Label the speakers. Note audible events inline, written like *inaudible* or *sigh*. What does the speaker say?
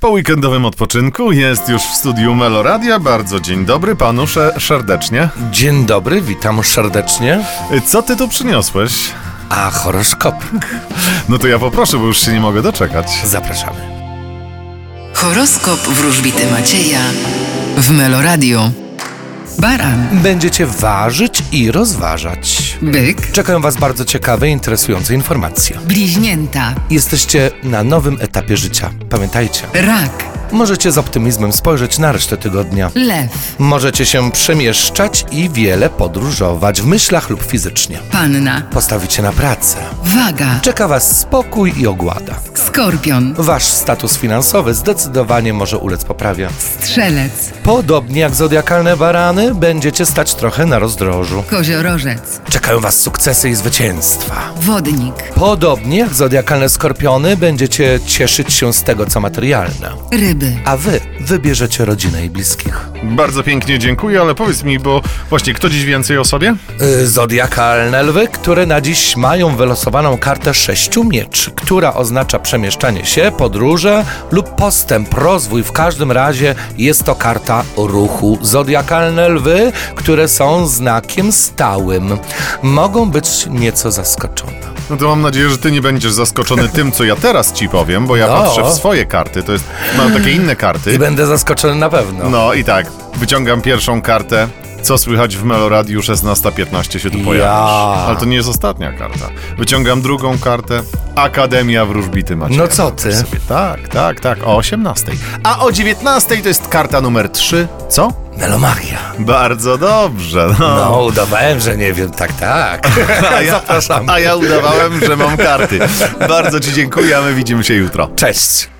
Speaker 1: Po weekendowym odpoczynku jest już w studiu Meloradia. Bardzo dzień dobry panu sze- serdecznie.
Speaker 2: Dzień dobry, witam serdecznie.
Speaker 1: Co ty tu przyniosłeś?
Speaker 2: A horoskop.
Speaker 1: No to ja poproszę, bo już się nie mogę doczekać.
Speaker 2: Zapraszamy.
Speaker 3: Horoskop wróżbity Macieja w Meloradio. Baran,
Speaker 2: Będziecie ważyć i rozważać.
Speaker 3: byk,
Speaker 2: Czekają Was bardzo ciekawe i interesujące informacje.
Speaker 3: bliźnięta,
Speaker 2: Jesteście na nowym etapie życia. Pamiętajcie,
Speaker 3: rak,
Speaker 2: możecie z optymizmem spojrzeć na resztę tygodnia.
Speaker 3: lew,
Speaker 2: Możecie się przemieszczać i wiele podróżować w myślach lub fizycznie.
Speaker 3: panna,
Speaker 2: Postawicie na pracę.
Speaker 3: waga,
Speaker 2: Czeka Was spokój i ogłada.
Speaker 3: skorpion,
Speaker 2: Wasz status finansowy zdecydowanie może ulec poprawie.
Speaker 3: strzelec,
Speaker 2: Podobnie jak zodiakalne barany, będziecie stać trochę na rozdrożu.
Speaker 3: koziorożec,
Speaker 2: Czekają Was sukcesy i zwycięstwa.
Speaker 3: wodnik,
Speaker 2: Podobnie jak zodiakalne skorpiony, będziecie cieszyć się z tego, co materialne.
Speaker 3: ryby.
Speaker 2: A Wy wybierzecie rodzinę i bliskich.
Speaker 1: Bardzo pięknie dziękuję, ale powiedz mi, bo właśnie kto dziś więcej o sobie?
Speaker 2: Yy, Zodiakalne lwy, które na dziś mają wylosowaną kartę sześciu mieczy, która oznacza przemieszczanie się, podróże lub postęp, rozwój. W każdym razie jest to karta ruchu. Zodiakalne lwy, które są znakiem stałym, mogą być nieco zaskoczone.
Speaker 1: No to mam nadzieję, że ty nie będziesz zaskoczony tym, co ja teraz ci powiem, bo ja
Speaker 2: No.
Speaker 1: patrzę w swoje karty, to jest, mam takie inne
Speaker 2: I
Speaker 1: karty.
Speaker 2: będę zaskoczony na pewno.
Speaker 1: No i tak, wyciągam pierwszą kartę. Co słychać w Meloradiu 16.15 się tu
Speaker 2: Ja.
Speaker 1: pojawisz. Ale to nie jest ostatnia karta. Wyciągam drugą kartę. Akademia Wróżbity Macieja.
Speaker 2: No co ty?
Speaker 1: Sobie. Tak, tak, tak. O 18.00. A o 19.00 to jest karta numer 3. Co?
Speaker 2: Melomachia.
Speaker 1: Bardzo dobrze. No.
Speaker 2: No, udawałem, że nie wiem, tak, tak.
Speaker 1: *laughs* A ja,
Speaker 2: Zapraszam.
Speaker 1: a ja udawałem, że mam karty. Bardzo ci dziękuję, a my widzimy się jutro.
Speaker 2: Cześć.